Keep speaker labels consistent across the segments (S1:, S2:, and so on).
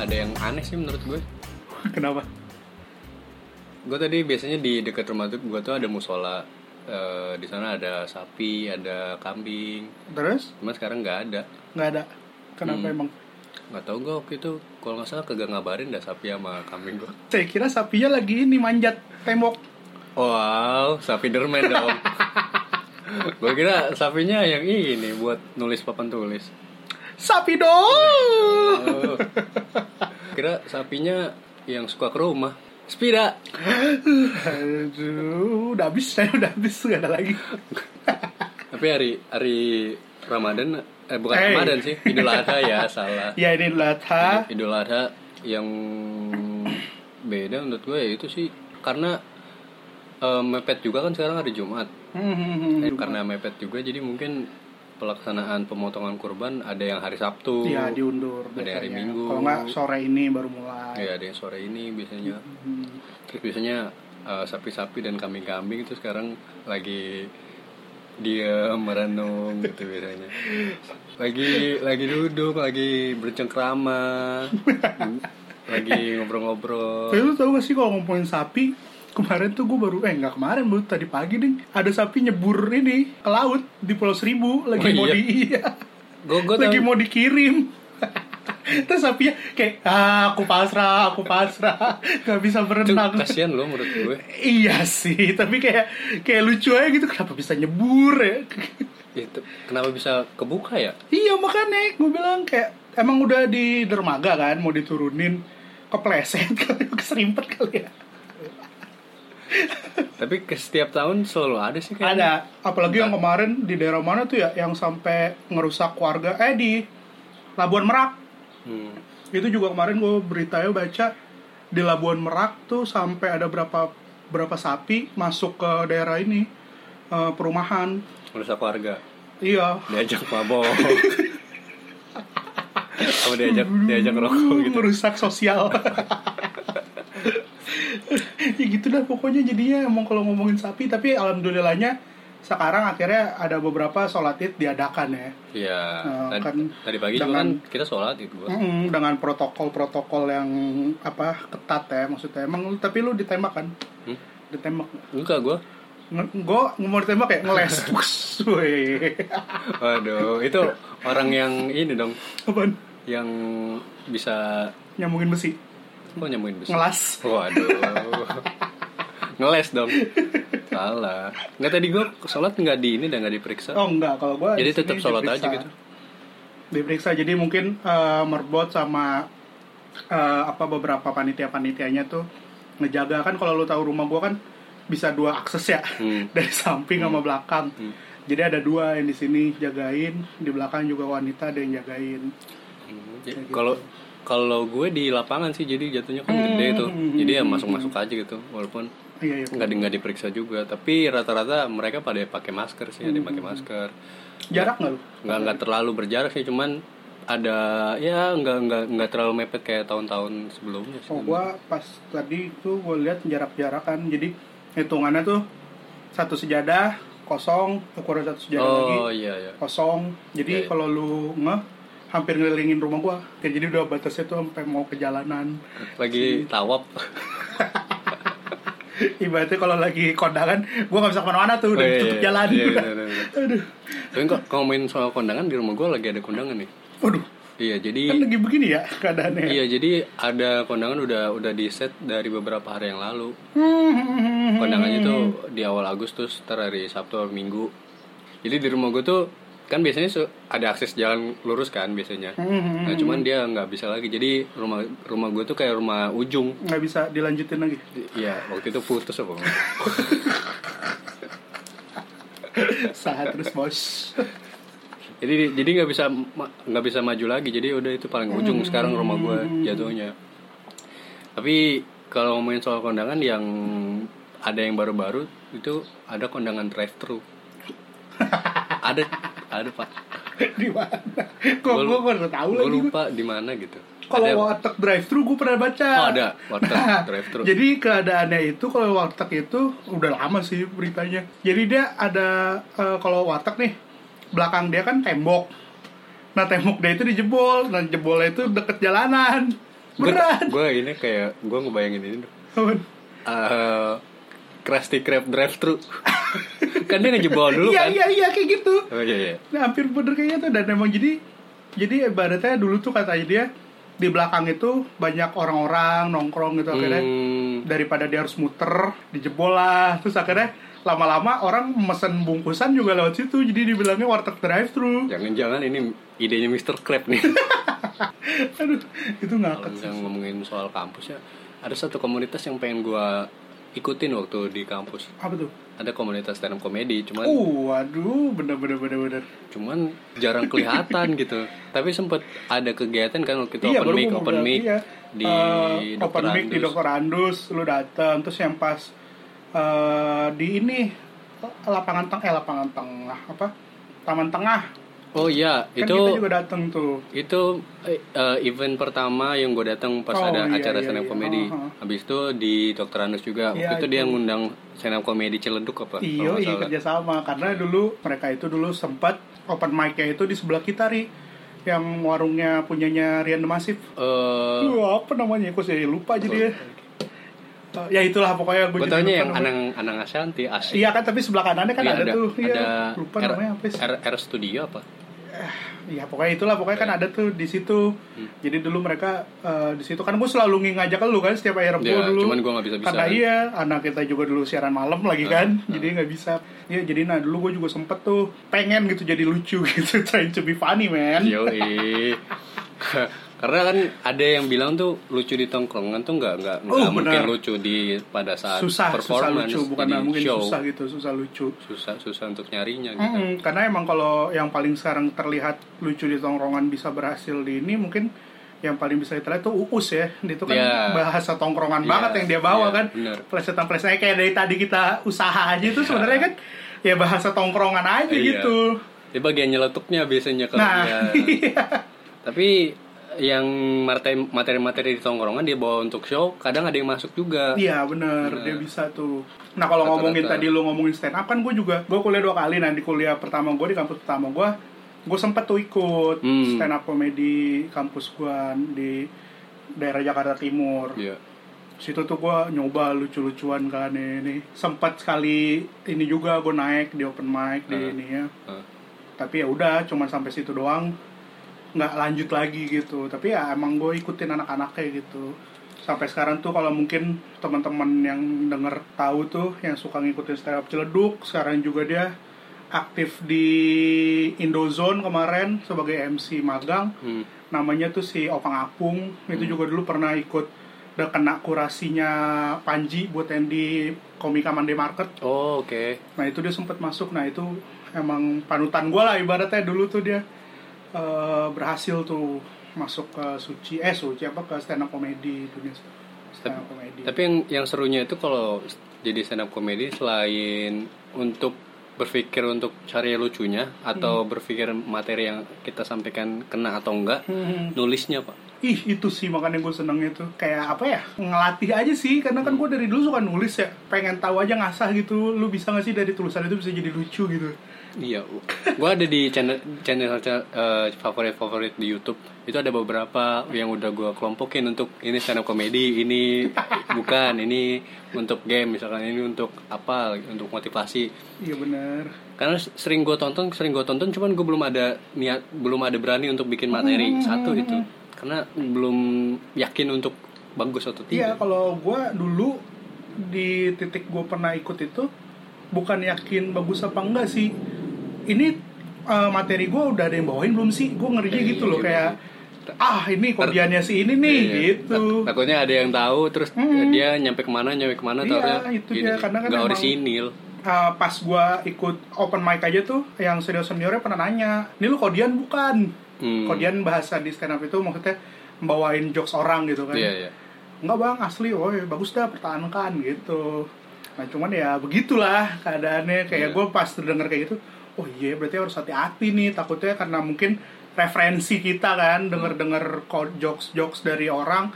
S1: ada yang aneh sih menurut gue
S2: Kenapa?
S1: gue tadi biasanya di dekat rumah tuh gue tuh ada musola Eh, di sana ada sapi ada kambing
S2: Terus?
S1: cuma sekarang nggak ada
S2: Nggak ada. Kenapa
S1: Hmm.
S2: emang?
S1: nggak tahu gue waktu itu kalau nggak salah kagak ngabarin dah sapi sama kambing gue
S2: Saya kira sapinya lagi ini manjat tembok.
S1: wow sapi dermen dong gue kira sapinya yang ini buat nulis papan tulis
S2: Sapi dong.
S1: Oh. kira sapinya yang suka ke rumah sepeda
S2: Aduh, udah habis, saya udah habis, nggak ada lagi.
S1: tapi hari hari Ramadan eh bukan
S2: Hey.
S1: Ramadan sih Idul Adha ya salah
S2: ya ini Lata.
S1: Idul Adha yang beda menurut gue ya itu sih karena eh, mepet juga kan sekarang hari Jumat Eh, karena mepet juga jadi mungkin pelaksanaan pemotongan kurban ada yang hari Sabtu
S2: Ya diundur
S1: Ada hari
S2: biasanya.
S1: Minggu.
S2: Kalau nggak sore ini baru mulai.
S1: Ya, ada yang sore ini biasanya
S2: Hmm.
S1: terus biasanya eh, sapi-sapi dan kambing-kambing itu sekarang lagi dia merenung gitu biasanya lagi lagi duduk lagi bercengkrama lagi ngobrol-ngobrol
S2: Tapi lu tau gak sih kalau ngomongin sapi Kemarin tuh gue baru, eh nggak kemarin, baru tadi pagi ding Ada sapi nyebur ini ke laut di Pulau Seribu Lagi
S1: Oh,
S2: mau
S1: iya.
S2: di, iya.
S1: gue gue
S2: Lagi mau dikirim Terus sapinya kayak, ah aku pasrah, aku pasrah Gak bisa berenang
S1: kasihan lo menurut gue
S2: Iya sih, tapi kayak kayak lucu aja gitu Kenapa bisa nyebur ya
S1: itu kenapa bisa kebuka ya
S2: Iya makanya gue bilang kayak Emang udah di dermaga kan, mau diturunin Kepleset kali, keserimpet kali ya
S1: tapi ke setiap tahun selalu ada sih kayaknya
S2: ada apalagi yang kemarin di daerah mana tuh ya yang sampai ngerusak warga eh di Labuan Merak
S1: Hmm.
S2: itu juga kemarin gue beritanya baca di Labuan Merak tuh sampai ada berapa berapa sapi masuk ke daerah ini eh, perumahan
S1: merusak warga
S2: iya
S1: diajak mabok kamu diajak diajak rokok gitu
S2: merusak sosial ya gitu dah pokoknya jadinya emang kalau ngomongin sapi tapi alhamdulillahnya sekarang akhirnya ada beberapa sholat id diadakan ya
S1: Iya.
S2: Nah,
S1: tadi,
S2: kan
S1: tadi pagi juga kan
S2: dengan-
S1: kita sholat itu gua.
S2: Mm-mm, dengan protokol-protokol yang apa ketat ya maksudnya emang lu- tapi lu ditembak kan
S1: Hmm?
S2: ditembak
S1: Enggak gua.
S2: gue mau ditembak ya ngeles Puks, weh.
S1: Aduh, itu orang yang ini dong
S2: apaan
S1: yang bisa
S2: nyambungin besi
S1: kok nyambungin besi.
S2: ngelas
S1: Waduh. Ngeles dong. Salah. Enggak tadi gua sholat enggak di ini dan enggak diperiksa.
S2: oh enggak kalau gue
S1: Jadi tetap sholat aja gitu.
S2: diperiksa jadi mungkin eh, merbot sama eh, apa beberapa panitia-panitianya tuh ngejaga kan kalau lu tahu rumah gue kan bisa dua akses ya
S1: Hmm.
S2: dari samping sama belakang.
S1: Hmm.
S2: Jadi ada dua yang di sini jagain, di belakang juga wanita ada yang jagain.
S1: Hmm, jadi Kalau kalau gue di lapangan sih jadi jatuhnya kan gede
S2: Hmm.
S1: tuh. Jadi ya masuk-masuk aja gitu walaupun
S2: Iya, iya.
S1: nggak di- nggak diperiksa juga tapi rata-rata mereka pada pakai masker sih ada yang pakai
S2: Hmm.
S1: masker
S2: Jarak nggak lu?
S1: nggak nggak terlalu berjarak sih cuman ada ya nggak nggak nggak terlalu mepet kayak tahun-tahun sebelumnya sih
S2: Oh, gua pas tadi tuh gue lihat jarak-jarakan. Jadi hitungannya tuh satu sejadah kosong, ukuran satu sejadah lagi
S1: oh iya iya
S2: kosong.
S1: Iya,
S2: Jadi
S1: iya.
S2: kalau lu ngeh hampir ngelilingin rumah gua. Kayak jadi udah batasnya tuh sampai mau ke jalanan.
S1: lagi tawab
S2: Ibaratnya kalau lagi kondangan, gua nggak bisa kemana-mana tuh udah
S1: Oh, iya,
S2: tutup
S1: iya.
S2: jalan.
S1: Iya, iya, iya, iya.
S2: Aduh,
S1: tapi kok ngomongin soal kondangan di rumah gue lagi ada kondangan nih
S2: waduh,
S1: iya
S2: kan
S1: jadi
S2: lagi begini ya keadaannya.
S1: iya jadi ada kondangan udah udah di set dari beberapa hari yang lalu kondangannya tuh di awal Agustus ntar hari Sabtu atau Minggu jadi di rumah gue tuh kan biasanya su- ada akses jalan lurus kan biasanya nah cuman dia nggak bisa lagi jadi rumah rumah gue tuh kayak rumah ujung
S2: nggak bisa dilanjutin lagi.
S1: Iya, waktu itu putus apa nggak?
S2: Saat terus bos.
S1: jadi jadi nggak bisa ma- nggak bisa maju lagi jadi udah itu paling
S2: Hmm.
S1: ujung sekarang rumah gue jatuhnya tapi kalau ngomongin soal kondangan yang ada yang baru-baru itu ada kondangan drive thru ada ada pak
S2: Di mana? Kok
S1: Gua-
S2: gue baru tahu
S1: gue
S2: lagi. gua.
S1: lupa di mana gitu
S2: Kalau
S1: Ada-
S2: warteg drive thru gue pernah baca.
S1: Oh, ada warteg
S2: Nah,
S1: drive-thru.
S2: Jadi keadaannya itu kalau warteg itu udah lama sih beritanya. Jadi dia ada eh, kalau warteg nih belakang dia kan tembok. Nah tembok dia itu dijebol, nah jebolnya itu deket jalanan. Berat.
S1: gue ini kayak gue ngebayangin ini tuh. Eh, Krusty Krab drive thru kan dia ngejebol dulu
S2: iya
S1: kan
S2: iya iya kayak gitu
S1: oh, iya iya
S2: Nah, hampir bener kayaknya tuh dan emang jadi jadi ibaratnya dulu tuh katanya dia di belakang itu banyak orang-orang nongkrong gitu akhirnya
S1: Hmm,
S2: daripada dia harus muter dijebol lah terus akhirnya lama-lama orang mesen bungkusan juga lewat situ jadi dibilangnya warteg drive thru
S1: jangan-jangan ini idenya Mr. Krab nih
S2: aduh itu
S1: kalau
S2: ngakak sih
S1: misalnya ngomongin soal kampus ya ada satu komunitas yang pengen gue ikutin waktu di kampus
S2: apa tuh
S1: ada komunitas stand up comedy cuman
S2: uh waduh bener bener bener bener
S1: cuman jarang kelihatan gitu tapi sempet ada kegiatan kan waktu itu
S2: iya
S1: open
S2: baru
S1: mic
S2: gua mau
S1: open
S2: bilang,
S1: mic
S2: iya.
S1: di
S2: Eh,
S1: Dr.
S2: open mic di
S1: Andrews.
S2: dokter Andus lu datang terus yang pas eh, di ini lapangan tengah eh lapangan tengah apa taman tengah
S1: oh iya
S2: kan
S1: itu
S2: kita juga datang tuh
S1: itu eh, eh, event pertama yang gue datang pas
S2: Oh,
S1: ada
S2: iya,
S1: acara
S2: iya,
S1: stand up
S2: iya.
S1: comedy
S2: Aha.
S1: habis itu di Dr. Andrews juga
S2: Iya,
S1: waktu itu, dia ngundang stand up comedy Ciledug apa kalau
S2: Iya,
S1: nggak
S2: iya
S1: salah.
S2: kerjasama karena dulu mereka itu dulu sempat open mic-nya itu di sebelah kita ri yang warungnya punyanya Rian The Massive.
S1: Eh,
S2: Duh, apa namanya? Aku sih lupa jadi ya. Eh, ya itulah pokoknya gue
S1: gua taunya yang Anang Anang Ashanti asik
S2: Iya kan tapi sebelah kanannya kan
S1: Iya,
S2: ada, tuh. Iya.
S1: ada
S2: lupa
S1: R,
S2: namanya apa sih?
S1: R, R Studio apa
S2: Iya pokoknya itulah pokoknya kan ada tuh di situ.
S1: Hmm.
S2: Jadi dulu mereka eh, di situ kan gue selalu ngi- ngajak lu kan setiap akhir Rabu
S1: ya
S2: dulu.
S1: cuman gue nggak Ah, bisa bisa
S2: Karena iya, anak kita juga dulu siaran malam lagi kan, jadi nggak bisa. Ya jadi nah dulu gue juga sempet tuh pengen gitu jadi lucu gitu, trying to be
S1: Iya,
S2: funny man.
S1: Yoi. Karena kan ada yang bilang tuh lucu di tongkrongan tuh nggak nggak nggak
S2: Oh,
S1: mungkin
S2: benar.
S1: lucu di pada saat
S2: Susah, susah
S1: performance
S2: lucu, bukan
S1: di
S2: nggak mungkin
S1: show.
S2: susah gitu, susah lucu.
S1: Susah susah untuk nyarinya gitu.
S2: Mm-mm, karena emang kalau yang paling sekarang terlihat lucu di tongkrongan bisa berhasil di ini mungkin yang paling bisa kita lihat tuh uus ya, itu kan
S1: Iya.
S2: bahasa tongkrongan
S1: Iya,
S2: banget yang dia bawa
S1: iya,
S2: kan,
S1: benar.
S2: plesetan-plesetan Eh, kayak dari tadi kita usaha aja itu
S1: Iya.
S2: sebenarnya kan ya bahasa tongkrongan aja
S1: Iya.
S2: gitu.
S1: Di bagian nyeletuknya biasanya kalau
S2: Nah,
S1: dia. Tapi yang materi- materi-materi di tongkrongan dia bawa untuk show, kadang ada yang masuk juga.
S2: Iya bener,
S1: Bener.
S2: dia bisa tuh. Nah kalau
S1: Rata-rata.
S2: ngomongin tadi lu ngomongin stand up kan gue juga, gue kuliah dua kali. Nah di kuliah pertama gue di kampus pertama gue, gue sempet tuh ikut
S1: Hmm.
S2: stand up comedy kampus gue di daerah Jakarta Timur.
S1: Iya.
S2: Situ tuh gue nyoba lucu-lucuan kan ini. Sempat sekali ini juga gue naik di open mic di
S1: Hmm.
S2: ini ya.
S1: Nah,
S2: Tapi ya udah, cuman sampai situ doang. Nggak lanjut lagi gitu. Tapi ya emang gue ikutin anak-anaknya gitu. Sampai sekarang tuh kalau mungkin teman-teman yang denger tahu tuh yang suka ngikutin stand up Ciledug, sekarang juga dia aktif di Indozone kemarin sebagai MC magang.
S1: hmm.
S2: Namanya tuh si Opang Apung, itu juga dulu pernah ikut udah kena kurasinya Panji buat yang di Komika Monday Market.
S1: Oh, oke.
S2: Nah itu dia sempat masuk. Nah itu emang panutan gue lah ibaratnya dulu tuh dia eh, berhasil tuh masuk ke suci eh suci apa ke stand up comedy dunia stand up comedy.
S1: Tapi yang yang serunya itu kalau jadi stand up comedy selain untuk berpikir untuk cari lucunya atau berpikir materi yang kita sampaikan kena atau enggak,
S2: Hmm.
S1: nulisnya pak.
S2: Ih itu sih makanya gue senengnya tuh kayak apa ya ngelatih aja sih karena
S1: Hmm.
S2: kan gue dari dulu suka nulis ya pengen tahu aja ngasah gitu lu bisa nggak sih dari tulisan itu bisa jadi lucu gitu
S1: Iya, gua ada di channel channel favorit favorit di YouTube itu ada beberapa yang udah gua kelompokin untuk ini stand up comedy, ini bukan, ini untuk game misalkan ini untuk apa, untuk motivasi.
S2: iya bener
S1: karena sering gue tonton sering gue tonton cuman gue belum ada niat belum ada berani untuk bikin materi
S2: Hmm,
S1: satu itu karena belum yakin untuk bagus atau
S2: Iya,
S1: tidak
S2: kalau gue dulu di titik gue pernah ikut itu bukan yakin bagus apa enggak sih. Ini eh, materi gue udah ada yang bawain belum sih? Gue ngerinya
S1: Iya,
S2: gitu
S1: iya,
S2: loh
S1: iya,
S2: kayak ah ini kodiannya si ini nih
S1: Iya, iya.
S2: gitu.
S1: Tak- takutnya ada yang tahu terus dia nyampe kemana nyampe kemana
S2: Hmm, Iya,
S1: tahunya
S2: itu dia. Karena kan
S1: nggak
S2: emang-
S1: orisinil
S2: Eh, pas gue ikut open mic aja tuh yang senior seniornya pernah nanya, ini lu kodian bukan?
S1: Hmm.
S2: Kodian bahasa di stand up itu maksudnya bawain jokes orang gitu kan?
S1: iya iya
S2: Enggak bang, asli, woi bagus dah pertahankan gitu. Nah cuman ya begitulah keadaannya
S1: Iya.
S2: kayak gue pas denger kayak gitu, oh iya berarti harus hati-hati nih takutnya karena mungkin referensi kita kan denger-denger ko- jokes-jokes dari orang,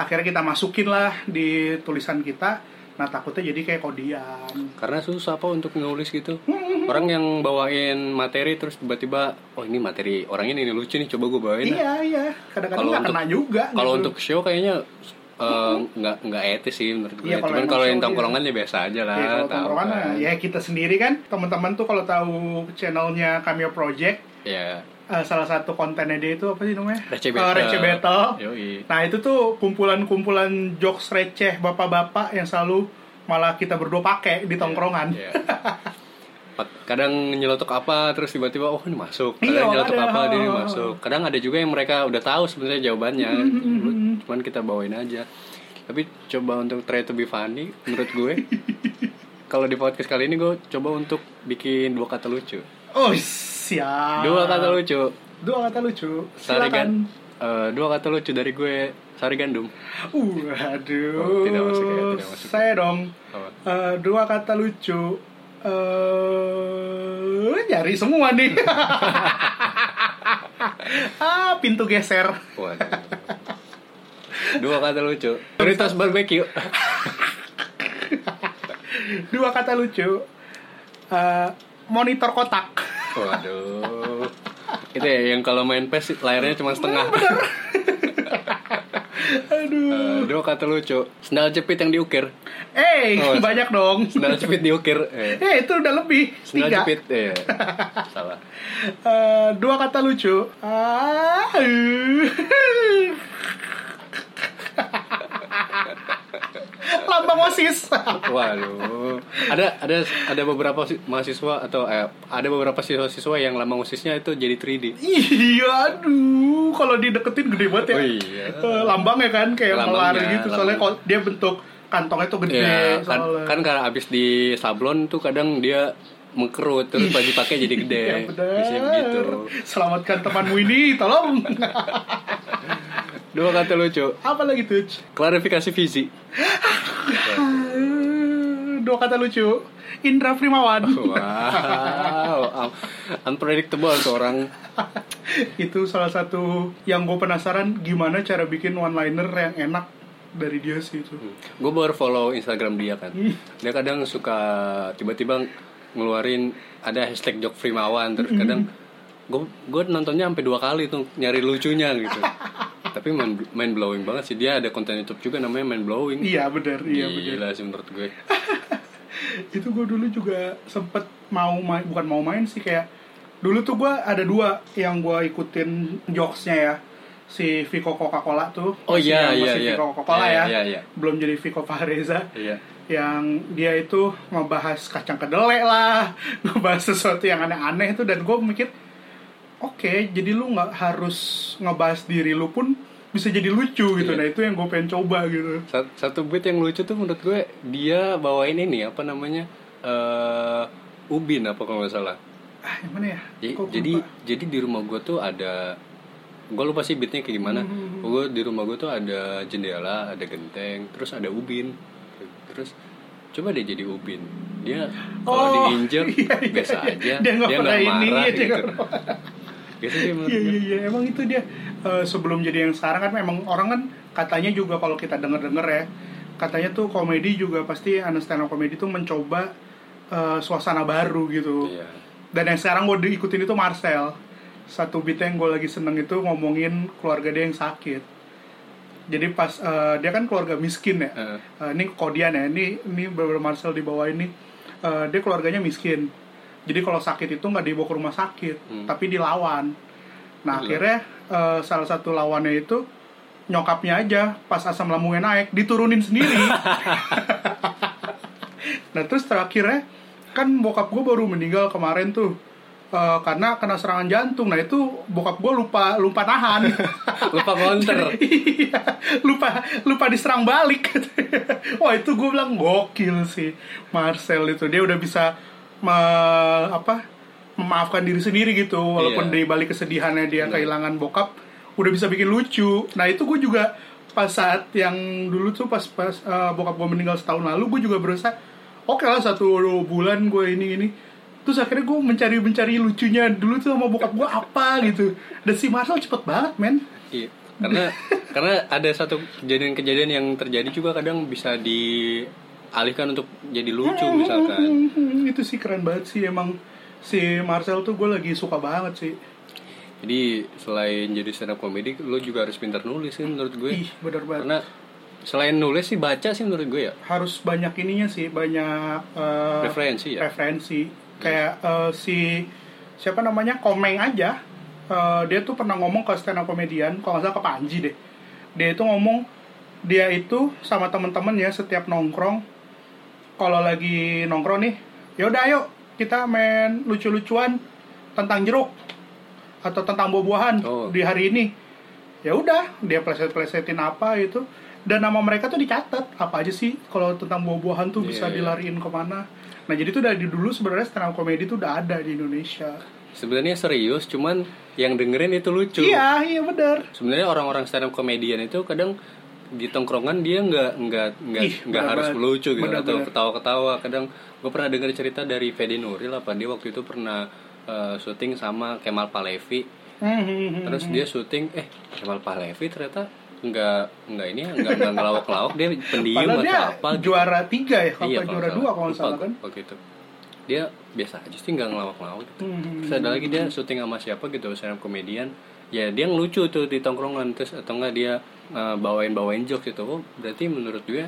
S2: akhirnya kita masukin lah di tulisan kita. Nah takutnya jadi kayak kodian. Hmm,
S1: karena susah apa untuk nulis gitu Orang yang bawain materi terus tiba-tiba, oh ini materi orang ini nih lucu nih, coba gue bawain. lah."
S2: Iya iya, kadang-kadang
S1: Kalau
S2: nggak
S1: untuk-
S2: kena juga.
S1: Kalau
S2: gitu.
S1: untuk show kayaknya eh, nggak nggak etis sih menurut gue.
S2: Hmm, Iya, kalau
S1: Cuman
S2: emang
S1: kalau yang
S2: show,
S1: tongkrongan ya biasa aja lah.
S2: Ya, kalau
S1: tahu
S2: tongkrongan
S1: kan.
S2: ya kita sendiri kan teman-teman tuh kalau tahu channelnya Cameo Project
S1: Iya.
S2: eh, salah satu kontennya dia itu apa sih namanya?
S1: Receh
S2: Eh,
S1: Battle.
S2: Receh Battle.
S1: Yoi.
S2: Nah itu tuh kumpulan-kumpulan jokes receh bapak-bapak yang selalu malah kita berdua pakai di tongkrongan.
S1: Iya. Pat- kadang nyelotok apa terus tiba-tiba oh ini masuk kadang
S2: Iya,
S1: nyelotok
S2: ada.
S1: apa dia ini masuk kadang ada juga yang mereka udah tahu sebenarnya jawabannya
S2: Mm-hmm,
S1: cuman kita bawain aja tapi coba untuk try to be funny menurut gue kalau di podcast kali ini gue coba untuk bikin dua kata lucu
S2: Oh siap.
S1: dua kata lucu
S2: Dua kata lucu.
S1: sari gan- eh,
S2: Ah, Silakan.
S1: dua kata lucu dari gue sari gandum
S2: Uh, aduh.
S1: Oh, tidak masuk ya, tidak masuk.
S2: Saya dong.
S1: Apa?
S2: Eh, dua kata lucu. Eh, nyari semua nih. ah, pintu geser.
S1: Waduh. dua kata lucu prioritas barbecue
S2: Dua kata lucu. Eh, monitor kotak.
S1: Waduh. Itu ya yang kalau main PES layarnya cuma setengah.
S2: Aduh.
S1: Eh, dua kata lucu. Sendal jepit yang diukir.
S2: Eh,
S1: Oh,
S2: banyak dong.
S1: Sendal jepit diukir. Eh,
S2: Eh, itu udah lebih.
S1: sendal
S2: Tiga.
S1: jepit. Eh, salah.
S2: Eh, dua kata lucu. Ah, eh. Lambang OSIS.
S1: Waduh. Ada ada ada beberapa si- mahasiswa atau eh, ada beberapa siswa-siswa yang lambang usisnya itu jadi 3D.
S2: iya, aduh. Kalau dideketin gede banget ya.
S1: Oh, iya.
S2: Eh, lambangnya kan kayak
S1: Lambangnya,
S2: melari gitu. Soalnya
S1: lambangnya.
S2: kalau dia bentuk kantongnya tuh gede.
S1: Ya, kan,
S2: soalnya.
S1: kan karena abis di sablon tuh kadang dia mengkerut terus baju pakai jadi gede. gitu.
S2: Ya, bener.
S1: Biasanya begitu.
S2: Selamatkan temanmu ini, tolong.
S1: Dua kata lucu.
S2: Apa lagi tuh?
S1: Klarifikasi visi.
S2: Eh, Dua kata lucu. Indra Primawan.
S1: Oh. Wow, un- unpredictable tuh orang.
S2: itu salah satu yang gue penasaran gimana cara bikin one liner yang enak dari dia sih itu
S1: Gue baru follow Instagram dia kan.
S2: Hmm.
S1: Dia kadang suka tiba-tiba ngeluarin ada hashtag jok Primawan terus
S2: Hmm.
S1: kadang gue gue nontonnya sampai dua kali tuh nyari lucunya gitu. Tapi main, main blowing banget sih dia ada konten YouTube juga namanya main blowing.
S2: iya bener iya bener
S1: Gila sih menurut gue.
S2: itu gue dulu juga sempet mau main bukan mau main sih kayak dulu tuh gue ada dua yang gue ikutin jokesnya ya si Vico Coca Cola tuh
S1: Oh
S2: Masih-
S1: iya
S2: yang
S1: iya
S2: masih
S1: iya.
S2: Vico Coca Cola
S1: Iya,
S2: ya
S1: Iya iya.
S2: belum jadi Vico Fareza
S1: Iya.
S2: yang dia itu ngebahas kacang kedelai lah ngebahas sesuatu yang aneh-aneh itu dan gue mikir oke jadi lu nggak harus ngebahas diri lu pun bisa jadi lucu gitu
S1: Iya.
S2: nah itu yang gue pengen coba gitu
S1: Sat- satu bit yang lucu tuh menurut gue dia bawain ini apa namanya eh ubin apa kalau nggak salah
S2: ah yang mana ya
S1: jadi
S2: Kok gua
S1: jadi,
S2: lupa?
S1: jadi di rumah gue tuh ada gue lupa sih bitnya kayak gimana
S2: Hmm,
S1: gue di rumah gue tuh ada jendela ada genteng terus ada ubin terus coba deh jadi ubin dia kalau
S2: Oh,
S1: diinjek
S2: iya, iya,
S1: biasa
S2: iya.
S1: aja
S2: Dia nggak
S1: nggak
S2: pernah ini,
S1: marah
S2: dia
S1: gitu
S2: nggak pernah.
S1: Gitu sih menurut
S2: Iya
S1: gue.
S2: iya iya emang itu dia Eh, sebelum jadi yang sekarang kan memang orang kan katanya juga kalau kita denger-denger ya katanya tuh komedi juga pasti anak stand up komedi tuh mencoba eh, suasana baru gitu
S1: Iya.
S2: Dan yang sekarang gue diikutin itu Marcel. Satu beat yang gue lagi seneng itu ngomongin keluarga dia yang sakit. Jadi pas eh, dia kan keluarga miskin ya.
S1: Eh,
S2: Eh, ini kodian ya. Ini ini bener Marcel di bawah ini. Eh, dia keluarganya miskin. Jadi kalau sakit itu nggak dibawa ke rumah sakit,
S1: Hmm. Gitu.
S2: tapi dilawan. Nah
S1: Gila.
S2: akhirnya eh, salah satu lawannya itu nyokapnya aja pas asam lambungnya naik diturunin sendiri. nah terus terakhirnya kan bokap gue baru meninggal kemarin tuh Eh, karena kena serangan jantung. Nah itu bokap gue lupa lupa nahan,
S1: lupa counter
S2: Iya, lupa lupa diserang balik. Wah itu gue bilang gokil sih Marcel itu dia udah bisa me- apa memaafkan diri sendiri gitu
S1: Iya.
S2: walaupun di balik kesedihannya dia
S1: Benar.
S2: kehilangan bokap udah bisa bikin lucu. Nah itu gue juga pas saat yang dulu tuh pas pas eh, bokap gue meninggal setahun lalu gue juga berusaha oke lah satu bulan gue ini ini terus akhirnya gue mencari mencari lucunya dulu tuh sama bokap gue apa gitu dan si Marcel cepet banget men
S1: Iya, karena karena ada satu kejadian-kejadian yang terjadi juga kadang bisa dialihkan untuk jadi lucu misalkan.
S2: kan. Hmm, itu sih keren banget sih emang si Marcel tuh gue lagi suka banget sih
S1: Jadi selain jadi stand up comedy, lo juga harus pintar nulis sih menurut gue.
S2: ih bener banget
S1: Karena selain nulis sih baca sih menurut gue ya.
S2: harus banyak ininya sih banyak eh,
S1: Referensi ya.
S2: referensi kayak eh, si siapa namanya Komeng aja eh, dia tuh pernah ngomong ke stand up comedian kalau nggak salah ke Panji deh dia itu ngomong dia itu sama temen-temennya setiap nongkrong kalau lagi nongkrong nih yaudah ayo kita main lucu-lucuan tentang jeruk atau tentang buah-buahan
S1: Oh.
S2: di hari ini ya udah dia pleset-plesetin apa itu dan nama mereka tuh dicatat apa aja sih kalau tentang buah-buahan tuh
S1: Iya,
S2: bisa
S1: iya.
S2: dilariin kemana nah jadi tuh dari dulu sebenarnya stand up comedy tuh udah ada di Indonesia
S1: Sebenarnya serius, cuman yang dengerin itu lucu.
S2: iya iya bener
S1: Sebenarnya orang-orang stand up comedian itu kadang di tongkrongan dia nggak nggak nggak
S2: Ih,
S1: nggak
S2: benar
S1: harus
S2: banget.
S1: lucu gitu
S2: Benar,
S1: atau
S2: benar.
S1: ketawa-ketawa kadang gue pernah dengar cerita dari Fedi Nuril apa dia waktu itu pernah eh, syuting sama Kemal Palevi
S2: Hmm, hmm, hmm,
S1: terus
S2: hmm.
S1: dia syuting eh Kemal Palevi ternyata nggak nggak ini ya, nggak nggak ngelawak-lawak dia pendiam
S2: Padahal dia
S1: atau apa gitu.
S2: juara tiga ya apa
S1: Iya, kalau
S2: juara
S1: nggak
S2: dua
S1: salah.
S2: kalau nggak
S1: Lupa
S2: salah kan
S1: gua waktu itu dia biasa aja sih nggak ngelawak-lawak gitu.
S2: Hmm, hmm,
S1: terus ada lagi dia syuting sama siapa gitu stand up komedian ya dia ngelucu tuh di tongkrongan terus atau enggak dia eh, bawain-bawain jokes gitu oh berarti menurut gue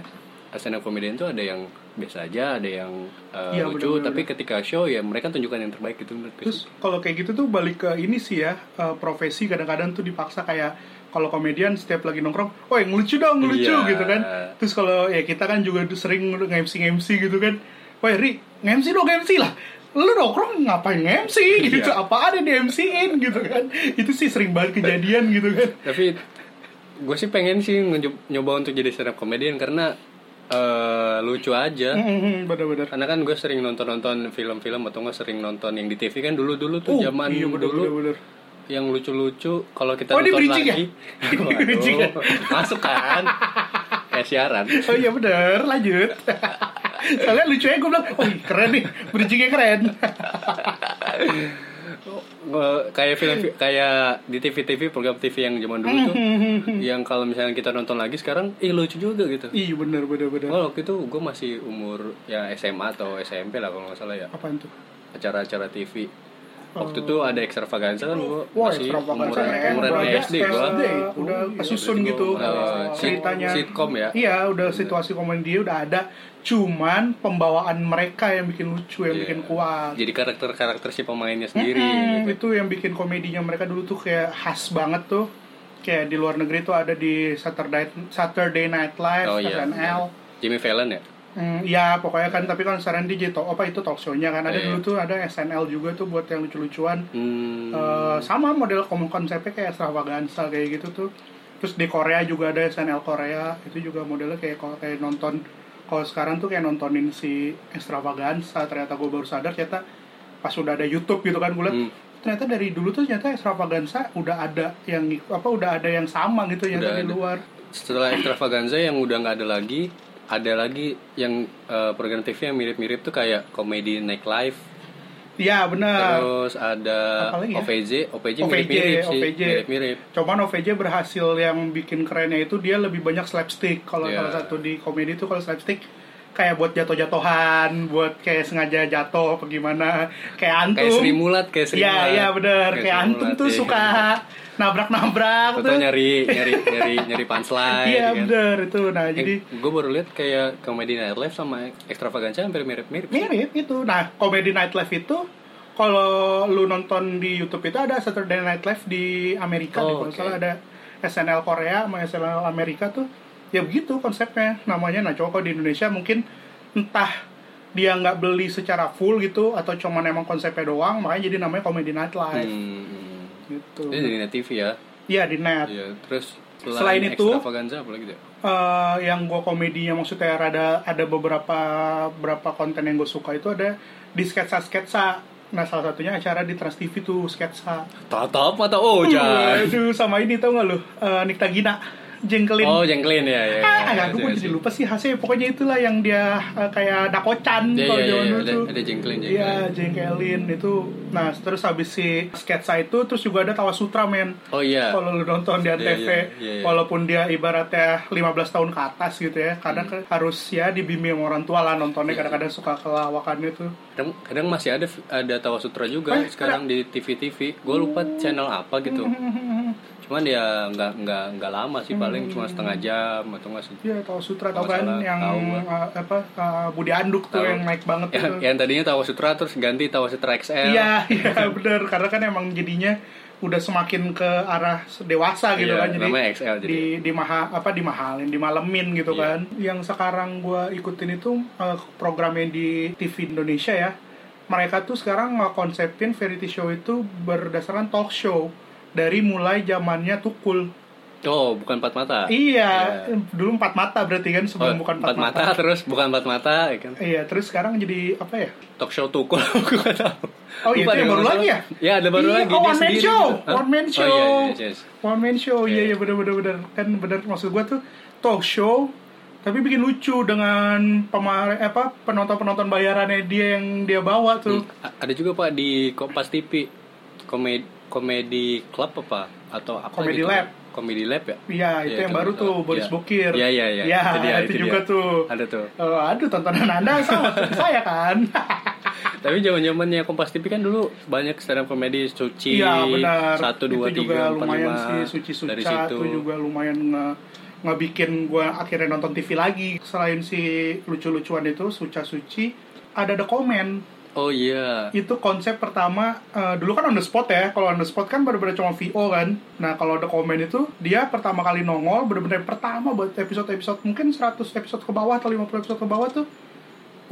S1: stand up komedian tuh ada yang biasa aja ada yang eh,
S2: Iya,
S1: lucu
S2: benar-benar.
S1: tapi ketika show ya mereka tunjukkan yang terbaik gitu menurut gue
S2: Terus kalau kayak gitu tuh balik ke ini sih ya eh, profesi kadang-kadang tuh dipaksa kayak kalau komedian setiap lagi nongkrong, woi ngelucu dong ngelucu
S1: Iya.
S2: gitu kan. Terus kalau ya kita kan juga sering nge-MC nge-MC gitu kan. Woi Ri, nge-MC dong nge-MC lah. Lu nongkrong ngapain nge-MC gitu?
S1: Iya.
S2: Apa ada di MC-in gitu kan? Itu sih sering banget kejadian gitu kan.
S1: tapi gue sih pengen sih nge- nyoba untuk jadi stand up komedian karena eh, lucu aja
S2: Mm, Bener-bener.
S1: Karena kan gue sering nonton-nonton film-film atau nggak sering nonton yang di TV kan dulu-dulu tuh
S2: Oh,
S1: zaman
S2: iya, bener,
S1: dulu
S2: bener, bener.
S1: yang lucu-lucu kalau kita
S2: Oh, ini
S1: nonton
S2: bridging ya?
S1: lagi
S2: Ini
S1: Waduh,
S2: bridging ya?
S1: masuk kan kayak siaran
S2: Oh iya bener, lanjut. Soalnya lucunya gue bilang, oh keren nih, bridgingnya keren.
S1: Eh, kayak film kayak di TV-TV program TV yang zaman dulu tuh yang kalau misalnya kita nonton lagi sekarang ih lucu juga gitu
S2: Iya bener, bener, bener.
S1: Gua waktu itu gue masih umur ya SMA atau SMP lah kalau nggak salah ya
S2: Apaan tuh?
S1: acara-acara TV waktu itu ada ekstravaganza kan gue
S2: Oh. Wah,
S1: masih
S2: Extravaganza
S1: umuran
S2: keren,
S1: umuran SD
S2: berarti
S1: Iya, gue
S2: kan? SD, udah kesusun gitu
S1: Eh, sit-
S2: ceritanya.
S1: sitcom ya
S2: Iya, udah situasi komedi dia udah ada. Cuman pembawaan mereka yang bikin lucu, yang
S1: Iya.
S2: bikin kuat.
S1: jadi karakter karakter si pemainnya sendiri
S2: Hmm,
S1: gitu.
S2: itu yang bikin komedinya mereka dulu tuh kayak khas banget tuh. Kayak di luar negeri tuh ada di Saturday Saturday Night Live,
S1: Oh, iya,
S2: SNL.
S1: Jimmy Fallon ya
S2: Hmm, ya pokoknya kan tapi kan sekarang dia jadi talk- apa itu talk show-nya kan ada
S1: Iya.
S2: dulu tuh ada SNL juga tuh buat yang lucu-lucuan.
S1: hmm,
S2: Eh, sama model kom- konsepnya kayak extravaganza kayak gitu tuh terus di Korea juga ada SNL Korea itu juga modelnya kayak ko- kayak nonton kalau sekarang tuh kayak nontonin si extravaganza ternyata gue baru sadar ternyata pas udah ada YouTube gitu kan gue liat,
S1: Hmm.
S2: ternyata dari dulu tuh ternyata extravaganza udah ada yang apa udah ada yang sama gitu yang
S1: Udah
S2: di
S1: ada.
S2: luar
S1: setelah extravaganza yang udah nggak ada lagi ada lagi yang eh, program TV yang mirip-mirip tuh kayak komedi Night Live
S2: ya benar
S1: terus ada
S2: Apa lagi ya?
S1: OVJ OVJ
S2: OVJ,
S1: mirip-mirip sih
S2: OVJ.
S1: mirip-mirip
S2: Cuman OVJ berhasil yang bikin kerennya itu dia lebih banyak slapstick. Kalau
S1: Iya.
S2: salah satu di komedi itu kalau slapstick kayak buat jatuh-jatuhan, buat kayak sengaja jatuh apa gimana, kayak
S1: kayak
S2: antum.
S1: Sri Mulat kayak Sri
S2: Iya,
S1: Mulat.
S2: iya bener. Kayak,
S1: Sri
S2: antum
S1: Mulat,
S2: tuh
S1: iya.
S2: suka nabrak-nabrak
S1: atau
S2: tuh.
S1: nyari nyari nyari nyari punchline
S2: Iya
S1: gitu kan.
S2: bener itu. Nah, jadi
S1: gue baru lihat kayak komedi Night Live sama extravaganza hampir mirip-mirip
S2: mirip itu. Nah, komedi night live itu kalau lu nonton di YouTube itu ada Saturday Night Live di Amerika deh,
S1: Oh,
S2: kalau
S1: oke.
S2: salah ada SNL Korea sama SNL Amerika tuh ya begitu konsepnya namanya nah coba kalau di Indonesia mungkin entah dia nggak beli secara full gitu atau cuman emang konsepnya doang makanya jadi namanya komedi night live
S1: Hmm.
S2: gitu
S1: Itu di Net TV ya.
S2: Iya di net
S1: Iya, terus
S2: Selain itu-
S1: extravaganza apa lagi tuh?
S2: Eh, yang gue komedinya maksudnya ada ada beberapa beberapa konten yang gue suka itu ada di sketsa sketsa nah salah satunya acara di Trans TV tuh sketsa Hmm.
S1: Tatap mata oh, Ojan.
S2: Waduh, sama ini tau gak lu Eh, Nikta Gina jengkelin
S1: Oh, jengkelin ya. ya, ya.
S2: ah agak gue jadi lupa sih hasil pokoknya itulah yang dia eh, kayak dakocan
S1: Iya,
S2: kalau
S1: iya,
S2: zaman
S1: iya,
S2: dulu
S1: ada,
S2: tuh
S1: ada jengkelin, jengkelin.
S2: Iya, jengkelin itu. Nah, terus habis si sketsa itu terus juga ada Tawa Sutra men.
S1: Oh iya.
S2: Kalau lu nonton di
S1: Iya,
S2: antv
S1: iya, iya, iya.
S2: walaupun dia ibaratnya 15 tahun ke atas gitu ya, kadang
S1: Hmm.
S2: ke- harus ya dibimbing sama orang tua lah nontonnya
S1: Iya.
S2: kadang-kadang suka kelawakannya tuh.
S1: Kadang, kadang masih ada ada Tawasutra juga
S2: Eh,
S1: sekarang di TV-TV. Gue lupa channel apa gitu. Cuman ya nggak nggak nggak lama sih paling cuma setengah jam atau nggak se-
S2: Iya, Tawa Sutra
S1: Kalau
S2: tau kan
S1: salah,
S2: yang
S1: tahu gua.
S2: uh, apa uh, Budi Anduk tuh
S1: Tahu. Iya,
S2: yang naik banget
S1: yang,
S2: itu.
S1: Ya, yang tadinya Tawasutra terus ganti Tawasutra XL.
S2: Iya, iya benar karena kan emang jadinya udah semakin ke arah dewasa gitu
S1: Iya,
S2: kan jadi
S1: namanya XL jadi.
S2: di di maha apa dimahalin dimalemin gitu
S1: Iya.
S2: kan yang sekarang gua ikutin itu eh, programnya di TV Indonesia ya mereka tuh sekarang konsepin variety show itu berdasarkan talk show dari mulai zamannya tukul
S1: Oh, bukan empat mata.
S2: iya
S1: Iya.
S2: dulu empat mata berarti kan
S1: Oh,
S2: sebelum bukan empat mata.
S1: terus bukan empat mata ya kan.
S2: iya terus sekarang jadi apa ya
S1: Talk show tukul aku nggak tahu.
S2: Oh, iya,
S1: Lupa deh
S2: itu yang baru
S1: kalau
S2: lagi
S1: salah. Iya, ada baru
S2: Iya,
S1: lagi.
S2: oh,
S1: dia
S2: one man
S1: sendiri
S2: show,
S1: gitu. Hah?
S2: one man show.
S1: Oh, iya, iya, yes.
S2: One man show, iya
S1: Iya.
S2: iya bener bener bener kan bener maksud gua tuh talk show tapi bikin lucu dengan pemar apa penonton penonton bayarannya dia yang dia bawa tuh.
S1: A- Ada juga Pak di Kompas TV. Komedi komedi club apa atau apa
S2: Comedy
S1: gitu?
S2: Lab.
S1: Komedi Lab ya?
S2: Iya itu
S1: Iya,
S2: yang
S1: itu
S2: baru
S1: bener.
S2: tuh Boris
S1: Iya.
S2: Bokir.
S1: Iya, iya, iya.
S2: Ya,
S1: Itu dia,
S2: itu,
S1: itu
S2: juga
S1: dia.
S2: tuh.
S1: Ada tuh.
S2: Eh, aduh tontonan anda sama seperti saya kan.
S1: Tapi zaman-zamannya Kompas TV kan dulu banyak stand up komedi suci.
S2: Iya benar.
S1: Satu, dua,
S2: itu
S1: tiga,
S2: juga
S1: empat,
S2: lumayan
S1: lima.
S2: sih Suci
S1: Dari
S2: Suca
S1: situ.
S2: itu juga lumayan nge ngebikin gue akhirnya nonton TV lagi. Selain si lucu-lucuan itu Suca Suci ada The Comment
S1: Oh iya.
S2: itu konsep pertama eh, dulu kan on the spot ya kalau on the spot kan bener-bener cuma VO kan nah kalau the comment itu dia pertama kali nongol bener-bener yang pertama buat episode-episode mungkin 100 episode ke bawah atau 50 episode ke bawah tuh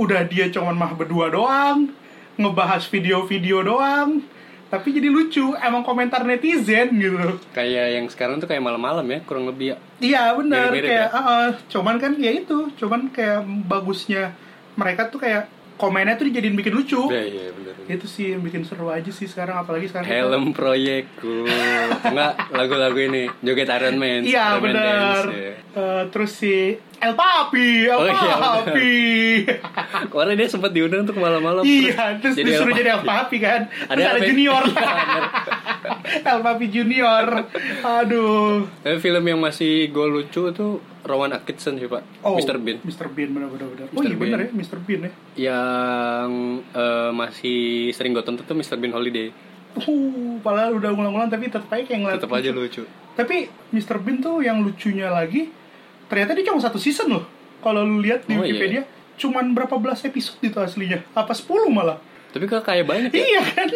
S2: udah dia cuman mah berdua doang ngebahas video-video doang tapi jadi lucu emang komentar netizen gitu
S1: Kayak yang sekarang tuh kayak malam-malam ya, kurang lebih ya.
S2: Iya benar
S1: Mirip-mirip
S2: kayak
S1: ya?
S2: "Ah, ah." cuman kan ya itu cuman kayak bagusnya mereka tuh kayak komennya tuh dijadiin bikin lucu
S1: Iya, iya, benar.
S2: itu sih yang bikin seru aja sih sekarang apalagi sekarang kita-
S1: Helm proyekku. Enggak, lagu-lagu ini joget Iron Man.
S2: iya
S1: Iron Man
S2: benar
S1: Dance, ya.
S2: Eh, terus si El Papi El
S1: Oh, iya, benar.
S2: Papi
S1: Kemarin dia sempat diundang untuk malam-malam.
S2: iya terus
S1: jadi
S2: disuruh
S1: apa?
S2: jadi El Papi kan terus
S1: Ada
S2: ada,
S1: apa ya?
S2: Junior El Papi Junior aduh
S1: Tapi film yang masih gue lucu tuh Rowan Atkinson sih pak, Mr. Bean.
S2: Mr. Oh, Bean benar-benar benar oh
S1: Mr.
S2: iya benar
S1: Bean.
S2: ya Mr. Bean ya
S1: Yang eh, masih sering gue tonton tuh Mr. Bean Holiday.
S2: Uh, padahal udah ngulang-ngulang tapi tetap aja kayak ngeliat
S1: Tetap aja lucu.
S2: Tapi Mr. Bean tuh yang lucunya lagi ternyata dia cuma satu season loh. Kalau lu lihat di
S1: Oh, iya.
S2: Wikipedia cuman berapa belas episode itu aslinya. Apa 10 malah.
S1: Tapi kok kayak banyak ya?
S2: Iya kan?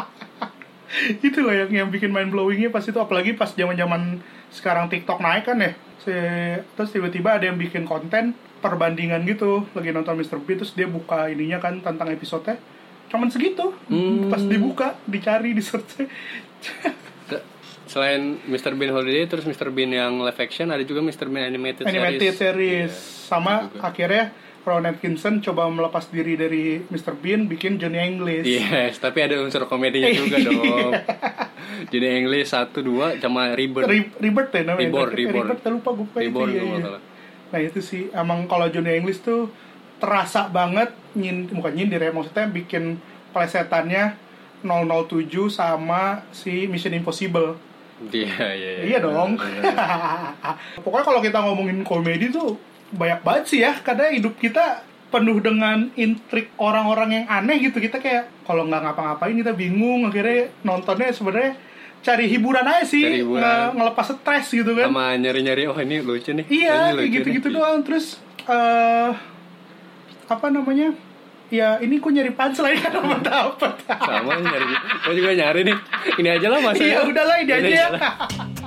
S2: itu loh yang yang bikin mind blowingnya pas itu apalagi pas zaman-zaman sekarang TikTok naik kan ya. Se- terus tiba-tiba ada yang bikin konten perbandingan gitu lagi nonton Mr. Bean terus dia buka ininya kan tentang episodenya cuman segitu
S1: Hmm.
S2: pas dibuka dicari di search
S1: Se- Selain Mr. Bean Holiday, terus Mr. Bean yang live action, ada juga Mr. Bean Animated, Series.
S2: animated series sama
S1: itu juga.
S2: akhirnya Ron Atkinson coba melepas diri dari Mr. Bean bikin Johnny English.
S1: Yes, tapi ada unsur
S2: Iya.
S1: komedinya juga dong. Jadi English satu dua sama Ribbon.
S2: Re- Rebirth ya namanya.
S1: Reborn,
S2: Eh,
S1: Reborn.
S2: Rebirth, lupa gue lupa
S1: Reborn
S2: itu.
S1: kalau
S2: iya, iya.
S1: nggak salah.
S2: Nah itu sih emang kalau Johnny English tuh terasa banget nyin, bukan nyindir ya maksudnya bikin plesetannya 007 sama si Mission Impossible.
S1: Iya, iya,
S2: Iya dong. Pokoknya kalau kita ngomongin komedi tuh banyak banget sih ya. Karena hidup kita penuh dengan intrik orang-orang yang aneh gitu. Kita kayak kalau nggak ngapa-ngapain kita bingung. Akhirnya nontonnya sebenarnya cari hiburan aja sih,
S1: Cari hiburan.
S2: nge- ngelepas stres gitu kan.
S1: sama nyari-nyari oh ini lucu nih
S2: Iya,
S1: ini
S2: kayak
S1: lucu
S2: gitu-gitu
S1: nih.
S2: doang. Terus eh apa namanya? Ya ini ku nyari punchline kan dapat dapat.
S1: sama nyari gue juga nyari nih ini aja lah mas Iya,
S2: Iya udahlah ini aja ya.